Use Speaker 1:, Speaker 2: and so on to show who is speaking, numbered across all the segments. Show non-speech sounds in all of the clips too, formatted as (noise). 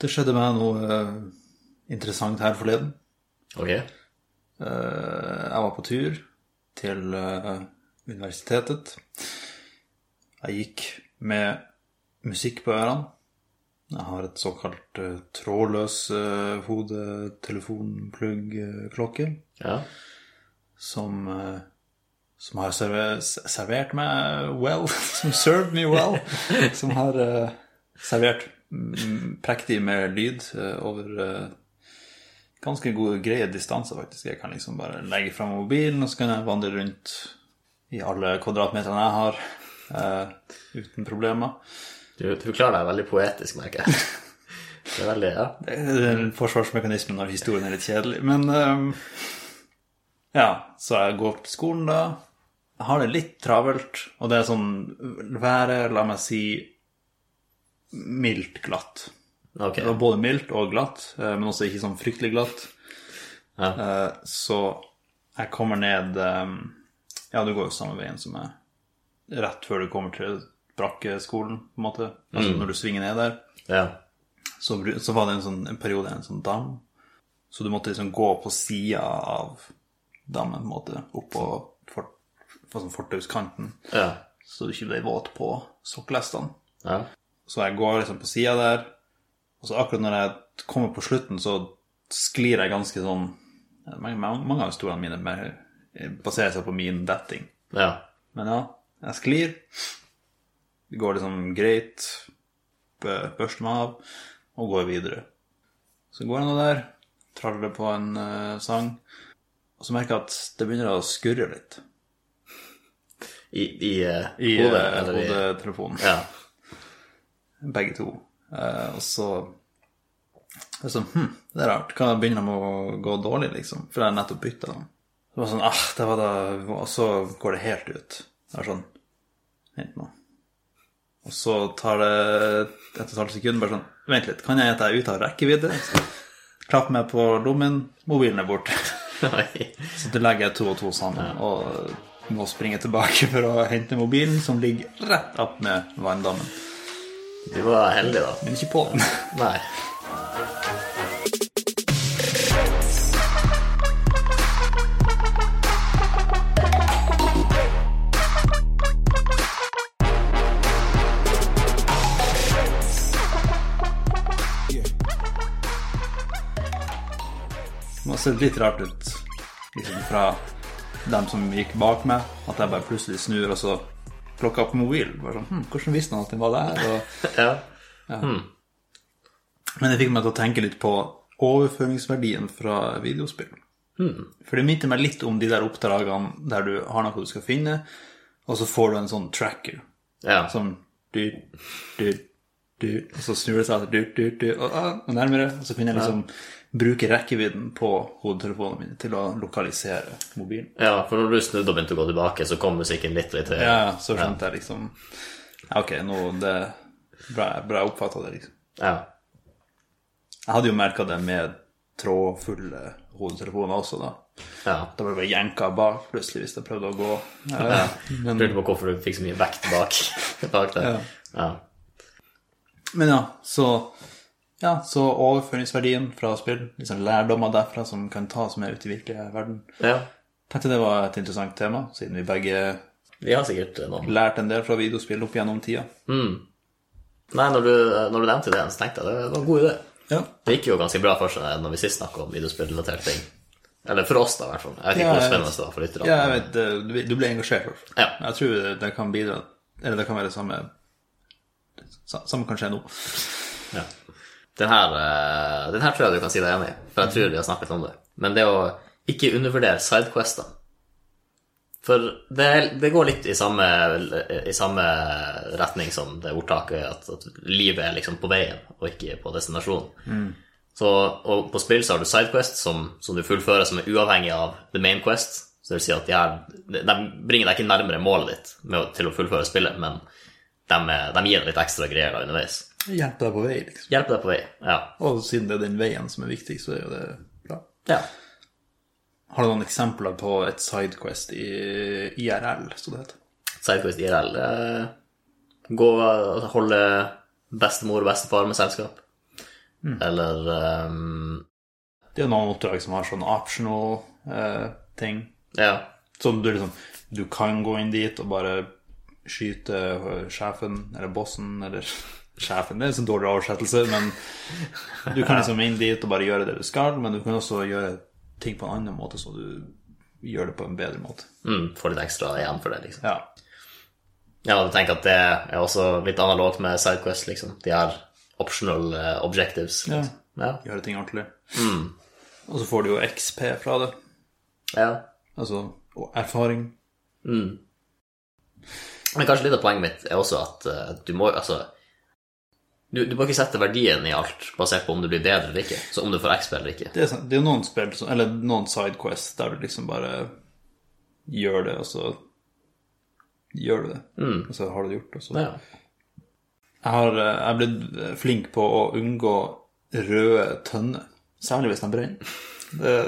Speaker 1: Det skjedde meg noe eh, interessant her forleden.
Speaker 2: Ok.
Speaker 1: Eh, Jeg var på tur til eh, universitetet. Jeg gikk med musikk på ørene. Jeg har et såkalt eh, trådløs eh, hodetelefonpluggklokke
Speaker 2: Ja.
Speaker 1: som, eh, som har serve- s- servert meg well, (laughs) som served me well, som har eh, servert mm, prektig med lyd eh, over eh, ganske gode, greie distanser, faktisk. Jeg kan liksom bare legge fram mobilen, og så kan jeg vandre rundt i alle kvadratmeterne jeg har, eh, uten problemer.
Speaker 2: Du, du klarer deg veldig poetisk, merker (laughs) jeg. Det er veldig, ja.
Speaker 1: Det er en forsvarsmekanisme når historien er litt kjedelig. Men ehm, ja, så jeg går på skolen da. Jeg har det litt travelt, og det er sånn været, la meg si, mildt glatt.
Speaker 2: Ok.
Speaker 1: Det var både mildt og glatt, eh, men også ikke sånn fryktelig glatt.
Speaker 2: Ja.
Speaker 1: Eh, Så jeg kommer ned ehm, Ja, du går jo samme veien som meg. Rett før du kommer til brakkeskolen, på en måte. Altså når du svinger ned der
Speaker 2: Ja.
Speaker 1: så, bru- så var det en, sånn, en periode en sånn dam. Så du måtte liksom gå på sida av dammen, på en måte, oppå for, for sånn fortauskanten,
Speaker 2: Ja.
Speaker 1: så du ikke ble våt på sokkelestene.
Speaker 2: Ja.
Speaker 1: Så jeg går liksom på sida der, og så akkurat når jeg kommer på slutten, så sklir jeg ganske sånn Mange, mange av historiene mine mer- baserer seg på min detting.
Speaker 2: Ja.
Speaker 1: Men ja, jeg sklir. Det går liksom greit. Bø- Børster meg av og går videre. Så går jeg nå der, traller på en eh, sang, og så merker jeg at det begynner å skurre litt
Speaker 2: I, i, eh,
Speaker 1: i
Speaker 2: hodet,
Speaker 1: eh,
Speaker 2: eller i...
Speaker 1: hodetelefonen.
Speaker 2: Ja. (laughs)
Speaker 1: Begge to. Eh, og så det er sånn, hm, det er rart. Kan det begynne med å gå dårlig, liksom? For jeg har nettopp bytta den. Så var det sånn, ah, det var da, Og så går det helt ut. Det er sånn Vent nå. Og så tar det et og et halvt sekund bare sånn Vent litt, kan jeg gjette jeg er ute av rekkevidde? Klapp meg på lommen, mobilen er borte. (laughs)
Speaker 2: Nei.
Speaker 1: Så det legger jeg to og to sammen. Og må springe tilbake for å hente mobilen, som ligger rett attmed vanndammen.
Speaker 2: Du var heldig, da.
Speaker 1: Men ikke på den.
Speaker 2: Nei.
Speaker 1: Det ser litt rart ut liksom fra dem som gikk bak meg, at jeg bare plutselig snur, og så plukka opp mobilen. Bare sånn, hm, Hvordan visste han at den var der? Og...
Speaker 2: Ja.
Speaker 1: Men det fikk meg til å tenke litt på overføringsverdien fra videospill. For det minte meg litt om de der oppdragene der du har noe du skal finne, og så får du en sånn tracker
Speaker 2: Ja.
Speaker 1: som du, du, du, og så snur det seg til du, du, du, og, ah, og nærmere. Og så kunne jeg liksom bruke rekkevidden på hodetelefonene mine til å lokalisere mobilen.
Speaker 2: ja, for når du snudde og begynte å gå tilbake, så kom musikken litt, litt høyere.
Speaker 1: Ja, så skjønte jeg liksom ja, Ok, nå det Bra, bra jeg oppfatta det, liksom.
Speaker 2: Ja.
Speaker 1: Jeg hadde jo merka det med trådfulle hodetelefoner også, da.
Speaker 2: Ja.
Speaker 1: Da ble jeg jenka bak plutselig hvis jeg prøvde å gå. Eh, Men
Speaker 2: Lurte på hvorfor du fikk så mye vekt bak, (laughs) bak det. Ja.
Speaker 1: Men ja, så ja, så overføringsverdien fra spill, liksom lærdommer derfra som kan tas med ut i virkelige verden.
Speaker 2: ja.
Speaker 1: Tenkte det var et interessant tema, siden vi begge
Speaker 2: Vi har sikkert noen
Speaker 1: lærte en del fra videospill opp gjennom tida.
Speaker 2: Nei, når du, eh, når du nevnte det, så tenkte jeg det var en god idé.
Speaker 1: Ja.
Speaker 2: Det gikk jo ganske bra for seg når vi sist snakka om videospillrelaterte ting. Eller for oss, da, i hvert fall. Jeg vet ikke
Speaker 1: Ja,
Speaker 2: hvor
Speaker 1: jeg
Speaker 2: spennende det var for lytterne.
Speaker 1: ja, jeg vet det, du- Du ble engasjert, i hvert fall.
Speaker 2: Ja.
Speaker 1: Jeg tror det- det kan bidra Eller det kan være det samme sa- Samme kan skje nå.
Speaker 2: Ja. Den, her, eh, den her tror jeg du kan si deg enig i, for jeg tror vi har snakket om det. Men det å ikke undervurdere sidequester For det, det går litt i samme, i samme retning som det ordtaket at, at livet er liksom på veien og ikke på destinasjonen. Så, og på spill så har du sidequest som, som du fullfører som er uavhengig av the main quest. Så det vil si at de, her, de bringer deg ikke nærmere målet ditt med, å- til å fullføre spillet, men de, de gir deg litt ekstra greier da underveis.
Speaker 1: Hjelpe deg på vei, liksom.
Speaker 2: Hjelp deg på vei. Ja.
Speaker 1: Og siden det er den veien som er viktig, så er jo det bra.
Speaker 2: ja.
Speaker 1: Har du noen eksempler på et sidequest i IRL, som det heter?
Speaker 2: Sidequest IRL. eh, Gå og holde bestemor og bestefar med selskap. Eller ehm,
Speaker 1: Det er jo noen oppdrag som har sånne optional eh, ting.
Speaker 2: Ja.
Speaker 1: Som du liksom Du kan gå inn dit og bare skyte eh, sjefen eller bossen eller (laughs) Sjefen det er en sånn dårlig oversettelse, men du kan liksom inn dit og bare gjøre det du skal, men du kan også gjøre ting på en annen måte, så du gjør det på en bedre måte.
Speaker 2: Mm, får litt ekstra igjen for det, liksom.
Speaker 1: Ja.
Speaker 2: Ja, jeg tenker at det er også litt analogt med Sidequest, liksom. De her optional eh, objectives.
Speaker 1: Ja.
Speaker 2: Liksom. Ja. mm,
Speaker 1: Gjøre ting ordentlig. Og så får du jo XP fra det,
Speaker 2: ja. mm.
Speaker 1: altså og erfaring.
Speaker 2: Men kanskje litt av poenget mitt er også at eh, du må altså du, du må ikke sette verdien i alt basert på om du blir bedre eller ikke. Så om du får XP eller ikke.
Speaker 1: Det er, sant. det er noen spill, som- eller noen sidequests, der du liksom bare gjør det, og så gjør du det. Og så har du det gjort, og så
Speaker 2: Ja.
Speaker 1: Jeg har eh, jeg er blitt flink på å unngå røde tønner, særlig hvis de brenner. Det,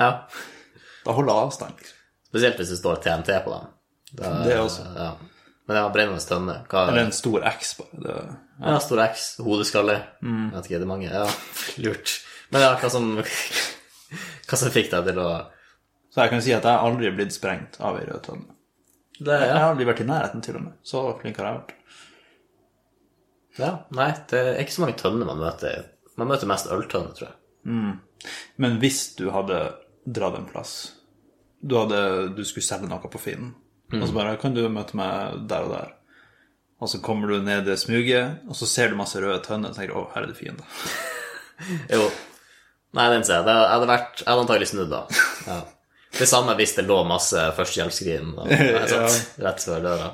Speaker 2: ja.
Speaker 1: da holder jeg avstand, liksom.
Speaker 2: Spesielt hvis det står TNT på dem. Da-
Speaker 1: Det også.
Speaker 2: Ja. Men ja, brennende tønne. Hva
Speaker 1: Eller en stor X, bare. Det,
Speaker 2: Ja, stor X, hodeskalle.
Speaker 1: Mm.
Speaker 2: Jeg vet ikke, det er mange. Ja, lurt. Men ja, hva som (laughs) Hva som fikk deg til å
Speaker 1: så jeg kan si at jeg aldri er blitt sprengt av ei rød tønne.
Speaker 2: Det,
Speaker 1: Jeg har aldri vært i nærheten, til og med. Så flink har jeg vært.
Speaker 2: Ja, nei, det er ikke så mange tønner man møter. Man møter mest øltønner, tror jeg.
Speaker 1: Men hvis du hadde dratt en plass Du, hadde, du skulle selge noe på Finn, og så bare Kan du møte meg der og der? Og så kommer du ned det smuget, og så ser du masse røde tønner og tenker Å, her er det fiender.
Speaker 2: Jo. Nei, den ser jeg. Det hadde vært, jeg hadde antagelig snudd da. Ja. Det samme hvis det lå masse førstehjelpsskrin
Speaker 1: (laughs)
Speaker 2: og- nei, sant, rett før døra.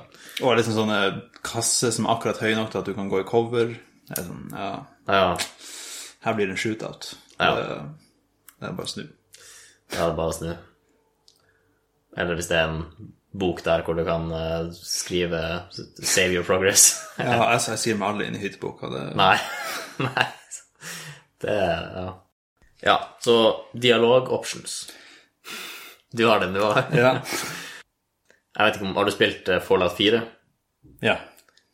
Speaker 1: Og liksom sånne kasser som er akkurat høy nok til at du kan gå i cover. Det er sånn, ja,
Speaker 2: Ja,
Speaker 1: her blir det en shootout.
Speaker 2: Ja.
Speaker 1: Det, det er bare å snu.
Speaker 2: det hadde bare å snu. Eller hvis det er en bok der hvor du kan eh, skrive 'Save your progress'. (laughs)
Speaker 1: Ja, jeg, jeg sier meg alle inn i hytteboka. Det,
Speaker 2: Nei. (laughs) Nei. Det er Ja. ja så dialog options. Du har den du har.
Speaker 1: ja.
Speaker 2: Jeg vet ikke om, Har du spilt eh, Fallout 4?
Speaker 1: ja.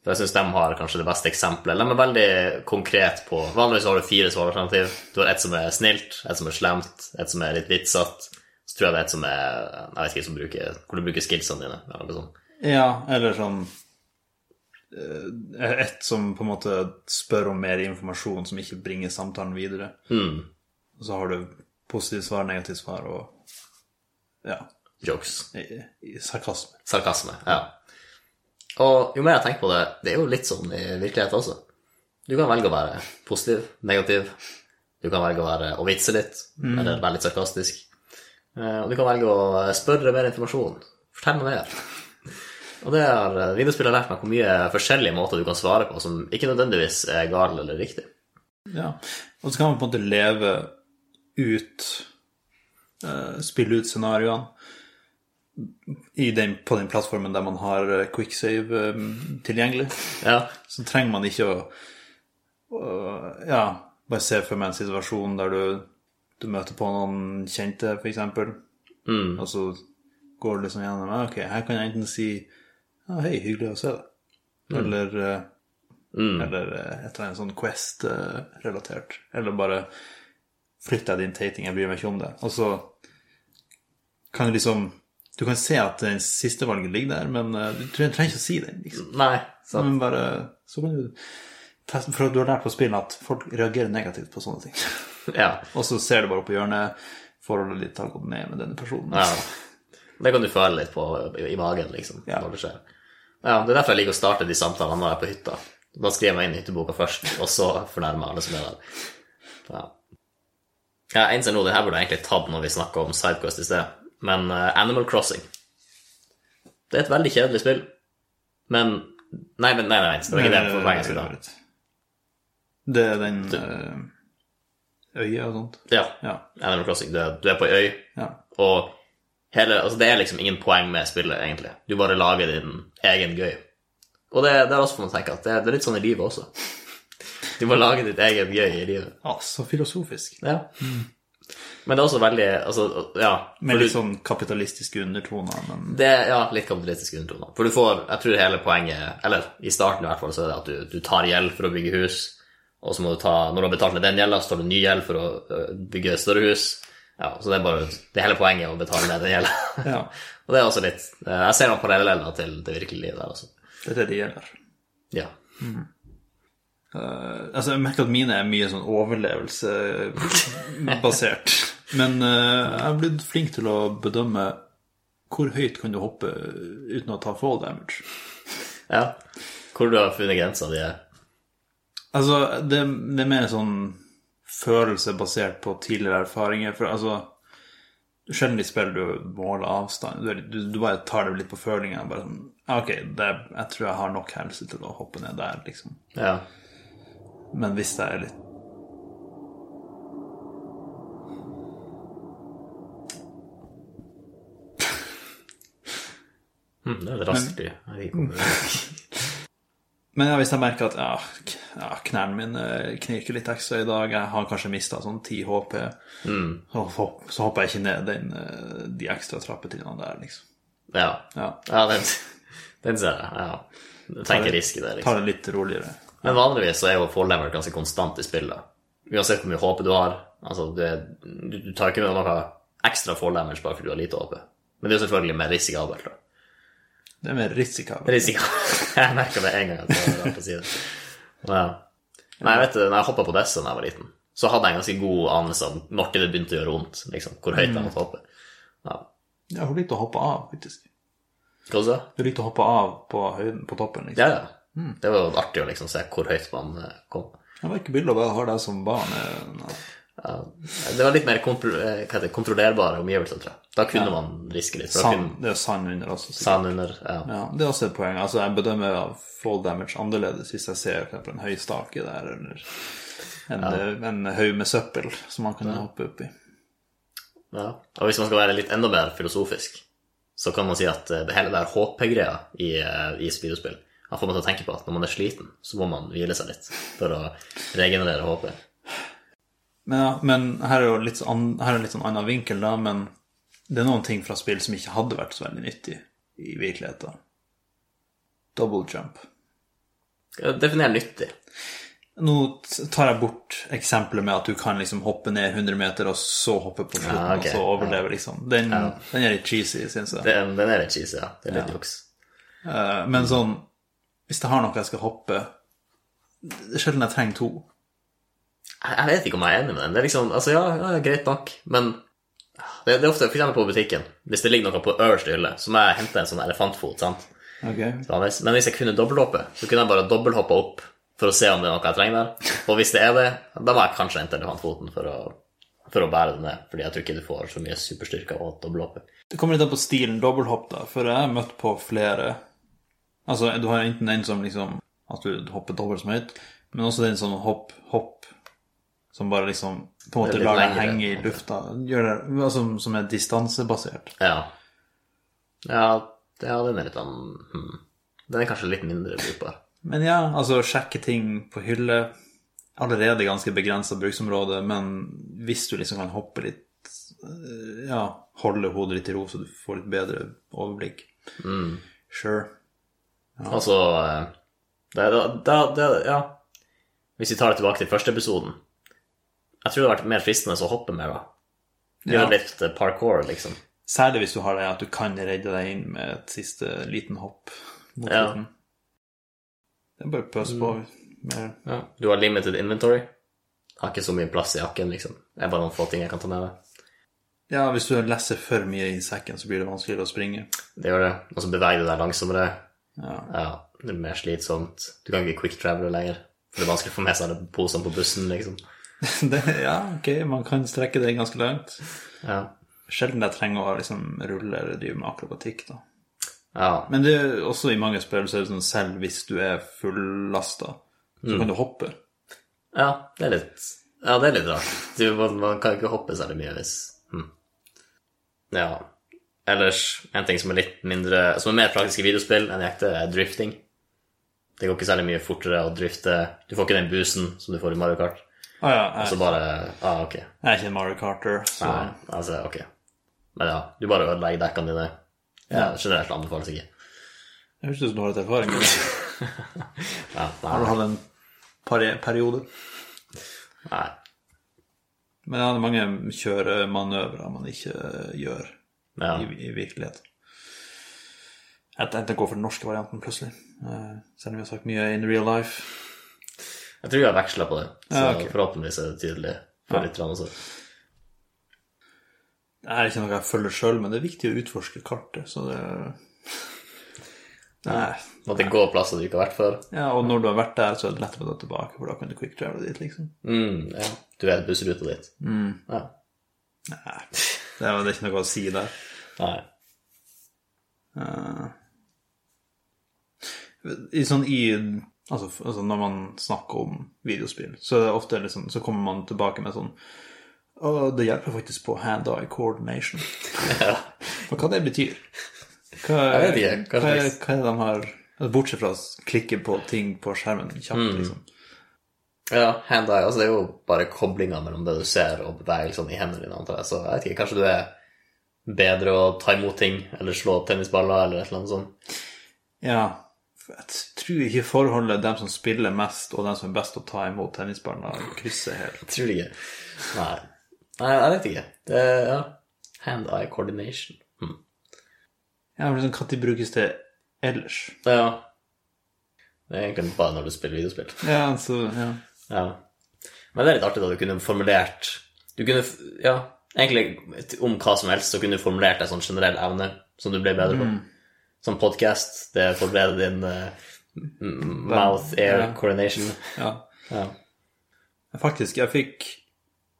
Speaker 2: For jeg syns de har kanskje det beste eksempelet. De er veldig konkret på Vanligvis har du fire svaralternativ. Du har ett som er snilt, ett som er slemt, ett som er litt vitsatt. Så tror jeg det er et som er Jeg vet ikke som bruker, hvor du bruker skillsene dine. Eller noe sånt.
Speaker 1: Ja, eller sånn eh, Et som på en måte spør om mer informasjon som ikke bringer samtalen videre.
Speaker 2: Mm,
Speaker 1: Og så har du positivt svar, negativt svar og ja,
Speaker 2: Jokes.
Speaker 1: i, i sarkasme.
Speaker 2: Sarkasme. Ja. Og jo mer jeg tenker på det, det er jo litt sånn i virkeligheten også. Du kan velge å være positiv, negativ. Du kan velge å, være, å vitse litt, eller være litt sarkastisk. Eh, Og du kan velge å spørre mer informasjon. Fortell meg mer. Og det har eh, videospill har lært meg hvor mye forskjellige måter du kan svare på som ikke nødvendigvis er gal eller riktig.
Speaker 1: Ja. Og så kan man på en måte leve ut eh, Spille ut scenarioene i den, på den plattformen der man har eh, quicksave eh, tilgjengelig.
Speaker 2: Ja,
Speaker 1: Så trenger man ikke å å, Ja, bare se for meg en situasjon der du, du møter på noen kjente, f.eks.,
Speaker 2: Mm.
Speaker 1: og så går du liksom gjennom ja, Ok, her kan jeg enten si ja, 'Hei, hyggelig å se deg', eller eh,
Speaker 2: mm.
Speaker 1: eller eh, et eller annet sånn Quest-relatert. Eller bare flytt deg din teiting, jeg bryr meg ikke om det. Og så kan du liksom Du kan se at den siste valget ligger der, men eh, du trenger trenger ikke å si den. liksom.
Speaker 2: Nei, sant.
Speaker 1: Men bare Så kan du teste For du har lært på spillet at folk reagerer negativt på sånne ting. (laughs)
Speaker 2: Ja.
Speaker 1: Og så ser du bare på hjørnet Forholdet ditt har gått ned med denne personen.
Speaker 2: Ja. Det kan du føle litt på i i magen, liksom,
Speaker 1: Ja.
Speaker 2: når det skjer. Ja, det er derfor jeg liker å starte de samtalene når jeg er på hytta. Da skriver jeg meg inn i hytteboka først, og så fornærmer jeg alle som er der. Ja. Jeg innser nå, det her burde jeg egentlig tatt når vi snakka om Sidequest i sted, men eh, Animal Crossing Det er et veldig kjedelig spill, men Nei, men nei, nei, det var ikke det poenget jeg skulle ha.
Speaker 1: Eh, Det er den eh, øyet og sånt.
Speaker 2: Ja,
Speaker 1: Ja.
Speaker 2: Animal Crossing, du er, du er på ei øy,
Speaker 1: ja.
Speaker 2: og hele, altså det er liksom ingen poeng med spillet, egentlig. Du bare lager din egen gøy. Og det, det er også for meg å tenke at det, det er litt sånn i livet også. Du må lage ditt eget gøy i livet.
Speaker 1: Ja, så filosofisk.
Speaker 2: Ja. Men det er også veldig altså, Ja.
Speaker 1: Med litt sånn kapitalistiske undertoner, men
Speaker 2: Det er ja, litt kapitalistisk undertone. For du får, jeg tror hele poenget, eller i starten i hvert fall, så er det at du, du tar gjeld for å bygge hus, Og så må du ta, når du har betalt ned den gjelda, så tar du ny gjeld for å øh, bygge et større hus. Ja, så det er bare det er hele poenget å betale ned den gjelda.
Speaker 1: (laughs) Ja.
Speaker 2: (laughs) og det er også litt eh, Jeg ser noen paralleller til det virkelige livet der, altså.
Speaker 1: Det er det det gjelder.
Speaker 2: Ja.
Speaker 1: Eh, altså, jeg merker at mine er mye sånn overlevelsebasert. Men eh, jeg er blitt flink til å bedømme hvor høyt kan du hoppe uten å ta fall damage.
Speaker 2: ja. Hvor du har funnet grensa di. er-
Speaker 1: Altså, det, det er mer en sånn følelse basert på tidligere erfaringer. For altså Sjelden i spill du måler avstand. Du, er- du, du bare tar det litt på følinga. Bare sånn «Ja, OK, det, jeg tror jeg har nok helse til å hoppe ned der, liksom.
Speaker 2: Ja.
Speaker 1: Men hvis jeg er litt
Speaker 2: Hm, det er et raskt lyd. Jeg liker hvor det-
Speaker 1: Men ja, hvis jeg merker at ja, k- ja, knærne mine knirker litt ekstra i dag, jeg har kanskje mista sånn 10 HP, så, hopp, så hopper jeg ikke ned den, eh, de ekstra trappetrinnene der, liksom. (laughs)
Speaker 2: Ja.
Speaker 1: Ja,
Speaker 2: ja den, den ser jeg. Ja. Jeg tenker risk i det, liksom.
Speaker 1: Tar det litt roligere.
Speaker 2: Men vanligvis så er jo fall level ganske konstant i spillet. Uansett hvor mye HP du har. Altså, du, er, du, du tar ikke med noe ekstra fall damage bare fordi du har lite HP. Men det er jo selvfølgelig mer risikabelt, da.
Speaker 1: Det er mer risikabelt.
Speaker 2: Risiko. (laughs) Jeg merka det en gang. at det var rart å si det. Men ja. Nei, jeg vet du, når jeg hoppa på Dessa da jeg var liten, så hadde jeg en ganske god anelse om når det begynte å gjøre vondt. liksom, Hvor høyt jeg måtte hoppe. Ja.
Speaker 1: Ja, hun likte å hoppe av, faktisk.
Speaker 2: Hva sa du?
Speaker 1: Hun likte å hoppe av på høyden, på toppen, liksom.
Speaker 2: Ja, ja. Det var jo artig å liksom se hvor høyt man eh, kom.
Speaker 1: Jeg var ikke bilde av å ha det som barn. eh, nei.
Speaker 2: Ja. Det var litt mer kompro- eh, hva heter det, kontrollerbare omgivelser, tror jeg. Da kunne man riske litt. for da
Speaker 1: Sand,
Speaker 2: kunne
Speaker 1: det er sand under også. sikkert.
Speaker 2: Sand under, ja.
Speaker 1: Ja, det er også et poeng. Altså, jeg bedømmer av fall damage annerledes hvis jeg ser for eksempel en høy stake der, eller en, en haug med søppel som man kan hoppe oppi.
Speaker 2: ja. Og hvis man skal være litt enda mer filosofisk, så kan man si at eh, det hele der HP-greia i, eh, i videospill han får man til å tenke på at når man er sliten, så må man hvile seg litt for å regenerere HP.
Speaker 1: Men, ja, men her er jo litt, an, her er en litt sånn annen vinkel, da, men det er noen ting fra spill som ikke hadde vært så veldig nyttig i virkeligheten. Double jump.
Speaker 2: Definer nyttig.
Speaker 1: Nå t- tar jeg bort eksempelet med at du kan liksom hoppe ned 100 meter, og så hoppe på slutten,
Speaker 2: Ja, Ah, ok.
Speaker 1: og så overleve, liksom. Den, den er litt cheesy, syns jeg.
Speaker 2: Det, er- den er litt cheesy, ja. Det er litt juks.
Speaker 1: Eh, Men sånn Hvis jeg har noe jeg skal hoppe Det er sjelden jeg trenger to.
Speaker 2: Jeg jeg vet ikke om jeg er enig med den. Det er liksom, altså ja, ja greit nok, men det, det er ofte for eksempel på butikken. Hvis det ligger noe på øverste hylle, så må jeg hente en sånn elefantfot. sant?
Speaker 1: Ok.
Speaker 2: Så hvis- Men hvis jeg kunne dobbelthoppe, så kunne jeg bare dobbelthoppa opp for å se om det er noe jeg trenger der. Og hvis det er det, da må jeg kanskje hente elefantfoten for å, for å bære den ned. Fordi jeg tror ikke du får så mye superstyrke av å dobbelthoppe.
Speaker 1: Det kommer litt an på stilen dobbelthopp, da, for jeg har møtt på flere Altså, du har enten den som liksom At du hopper dobbelt så høyt, men også den som hopp, hopp Som bare liksom på en måte
Speaker 2: Det er litt
Speaker 1: lar deg
Speaker 2: lengre,
Speaker 1: henge i
Speaker 2: kanskje.
Speaker 1: lufta. Gjør det, altså, som er distansebasert.
Speaker 2: Ja. Ja, det, ja, den er litt sånn hmm. Den er kanskje litt mindre brukbar.
Speaker 1: Men ja, altså sjekke ting på hylle Allerede ganske begrensa bruksområde, men hvis du liksom kan hoppe litt eh, Ja, holde hodet litt i ro, så du får litt bedre overblikk. Sure.
Speaker 2: Altså eh, det, det, det, det, Ja. Hvis vi tar det tilbake til første episoden Jeg tror det hadde vært mer fristende å hoppe mer, da. Gjøre
Speaker 1: Ja.
Speaker 2: litt eh, parkour, liksom.
Speaker 1: Særlig hvis du har det at du kan redde deg inn med et siste liten hopp mot
Speaker 2: Ja.
Speaker 1: slutten. Det er bare å pøse på. med-
Speaker 2: Du har limited inventory. Har ikke så mye plass i jakken, liksom. Det er bare noen få ting jeg kan ta med meg.
Speaker 1: Ja, hvis du leser for mye i sekken, så blir det vanskeligere å springe. (laughs)
Speaker 2: Det gjør det. Og så beveger du deg langsommere.
Speaker 1: Ja.
Speaker 2: Ja, det blir mer slitsomt. Du kan ikke quick travel lenger. For det er vanskelig å få med seg alle posene på bussen, liksom.
Speaker 1: Det, ja, ok, man kan strekke det ganske langt.
Speaker 2: Ja.
Speaker 1: Sjelden jeg trenger å liksom rulle eller drive med akrobatikk, da.
Speaker 2: ja.
Speaker 1: Men det er også i mange spill så er det sånn selv hvis du er fullasta,
Speaker 2: Mm.
Speaker 1: så kan du hoppe.
Speaker 2: Ja, det er litt Ja, det er litt rart. Du, man, man kan ikke hoppe særlig mye hvis hm. Ja. Ellers, en ting som er litt mindre Som er mer praktisk i videospill enn i ekte, er drifting. Det går ikke særlig mye fortere å drifte. Du får ikke den boosten som du får i Mario Kart.
Speaker 1: Å ja,
Speaker 2: Så
Speaker 1: jeg,
Speaker 2: bare Ah, ok.
Speaker 1: jeg er ikke en Mario Carter, så
Speaker 2: Nei, altså, ok. Men ja, du bare ødelegger dekkene dine. Ja, generelt anbefales ikke.
Speaker 1: det høres ut som du har litt erfaring. med det.
Speaker 2: Ja, nei.
Speaker 1: Har du hatt en pari- periode.
Speaker 2: Nei.
Speaker 1: Men ja, det er mange kjøremanøvrer man ikke gjør
Speaker 2: Ja.
Speaker 1: i, i virkeligheten. Jeg tenkte å gå for den norske varianten plutselig, eh, selv om vi har sagt mye in real life.
Speaker 2: Jeg tror jeg veksla på det, så
Speaker 1: Ja, ok.
Speaker 2: forhåpentligvis er det tydelig for lytterne også.
Speaker 1: Det er ikke noe jeg følger sjøl, men det er viktig å utforske kartet, så det Nei.
Speaker 2: At det går plasser du ikke har vært før.
Speaker 1: Ja, og når du har vært der, så er det lett å dra tilbake, for da kan du quick travele dit, liksom.
Speaker 2: Mm, ja. Du vet bussruta ditt. Ja.
Speaker 1: Nei, det er, det er ikke noe å si der.
Speaker 2: Nei.
Speaker 1: I sånn i altså, f- altså når man snakker om videospill, så er det ofte liksom Så kommer man tilbake med sånn Å, det hjelper faktisk på hand-eye coordination. (laughs)
Speaker 2: Ja.
Speaker 1: Men hva det betyr? Hva,
Speaker 2: Jeg vet ikke, hva
Speaker 1: hva, er-
Speaker 2: slags-
Speaker 1: hva er det de har altså, Bortsett fra å klikke på ting på skjermen kjapt,
Speaker 2: Mm.
Speaker 1: liksom.
Speaker 2: ja hand-eye, altså det er jo bare koblinga mellom det du ser og bevegelsene i hendene dine, antar jeg. Så jeg vet ikke, kanskje du er bedre å ta imot ting, eller slå tennisballer, eller et eller annet sånt.
Speaker 1: Ja. for Jeg tror ikke forholdet dem som spiller mest, og dem som er best å ta imot tennisballer, krysser helt.
Speaker 2: Jeg tror det ikke. Nei. Nei, jeg vet ikke. Det er, ja. Hand-eye coordination. Mm.
Speaker 1: Ja, men liksom, Når brukes det ellers?
Speaker 2: Ja. Det er egentlig bare når du spiller videospill.
Speaker 1: Ja, altså, ja.
Speaker 2: Ja. Men det er litt artig da du kunne formulert Du kunne, f- ja, egentlig om hva som helst, så kunne du formulert en sånn generell evne som du ble bedre
Speaker 1: Mm.
Speaker 2: på. Som podkast, det forbereder din eh, m- mouth air
Speaker 1: Ja.
Speaker 2: coordination.
Speaker 1: ja.
Speaker 2: Ja.
Speaker 1: Faktisk, jeg fikk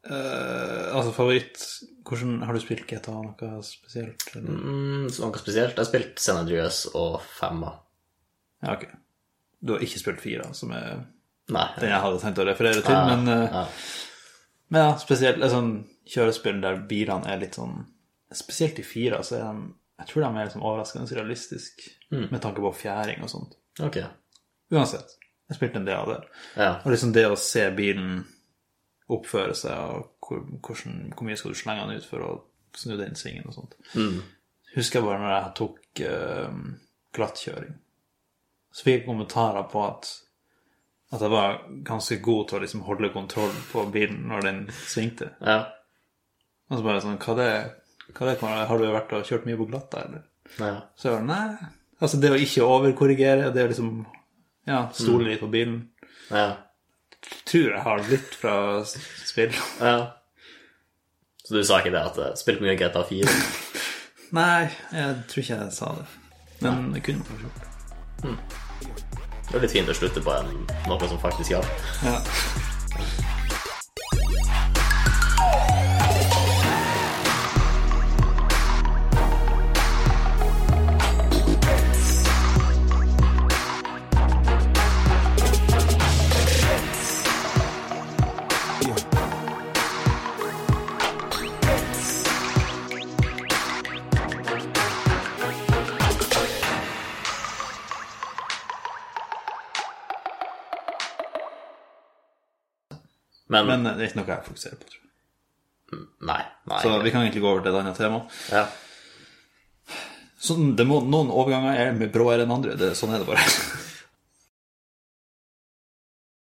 Speaker 1: eh, Altså, favoritt Hvordan har du spilt GTA? Noe spesielt? Eller?
Speaker 2: Mm, så noe spesielt. Jeg har spilt San Andreas og Femma.
Speaker 1: Ja, ok. Du har ikke spilt fire, som er
Speaker 2: Nei.
Speaker 1: den jeg hadde tenkt å referere til,
Speaker 2: Ja,
Speaker 1: men, eh,
Speaker 2: ja.
Speaker 1: men ja, spesielt et sånn kjørespill der bilene er litt sånn Spesielt i fire, så er de Jeg tror de er liksom overraskende realistiske
Speaker 2: Mm.
Speaker 1: med tanke på fjæring og sånt.
Speaker 2: Ok.
Speaker 1: Uansett, jeg spilte en del av det.
Speaker 2: Ja.
Speaker 1: Og liksom det å se bilen oppføre seg, og hvor, hvordan, hvor mye skal du slenge den ut for å snu den svingen og sånt. Husker jeg bare når jeg tok eh, glattkjøring. Så fikk jeg kommentarer på at, at jeg var ganske god til å liksom holde kontroll på bilen når den svingte.
Speaker 2: ja.
Speaker 1: Og så bare sånn Hva det, hva det kommer, Har du vært og kjørt mye på glatta, eller?
Speaker 2: ja.
Speaker 1: Så jeg var nei. Altså, det å ikke overkorrigere, det å liksom ja, stole litt på bilen
Speaker 2: ja.
Speaker 1: Tror jeg har litt fra s- spill.
Speaker 2: ja. Så du sa ikke det at uh, spilt mye GTA 4?
Speaker 1: Nei, jeg tror ikke jeg sa det. Men jeg kunne kanskje gjort det.
Speaker 2: Det er litt fint å slutte på en, noe som faktisk hjalp.
Speaker 1: Ja.
Speaker 2: Men,
Speaker 1: Men det er ikke noe jeg fokuserer på, tror jeg.
Speaker 2: nei. nei
Speaker 1: Så vi kan egentlig gå over til et annet tema.
Speaker 2: ja.
Speaker 1: Sånn, det må, noen overganger er mer brå enn andre. Det, sånn er det bare.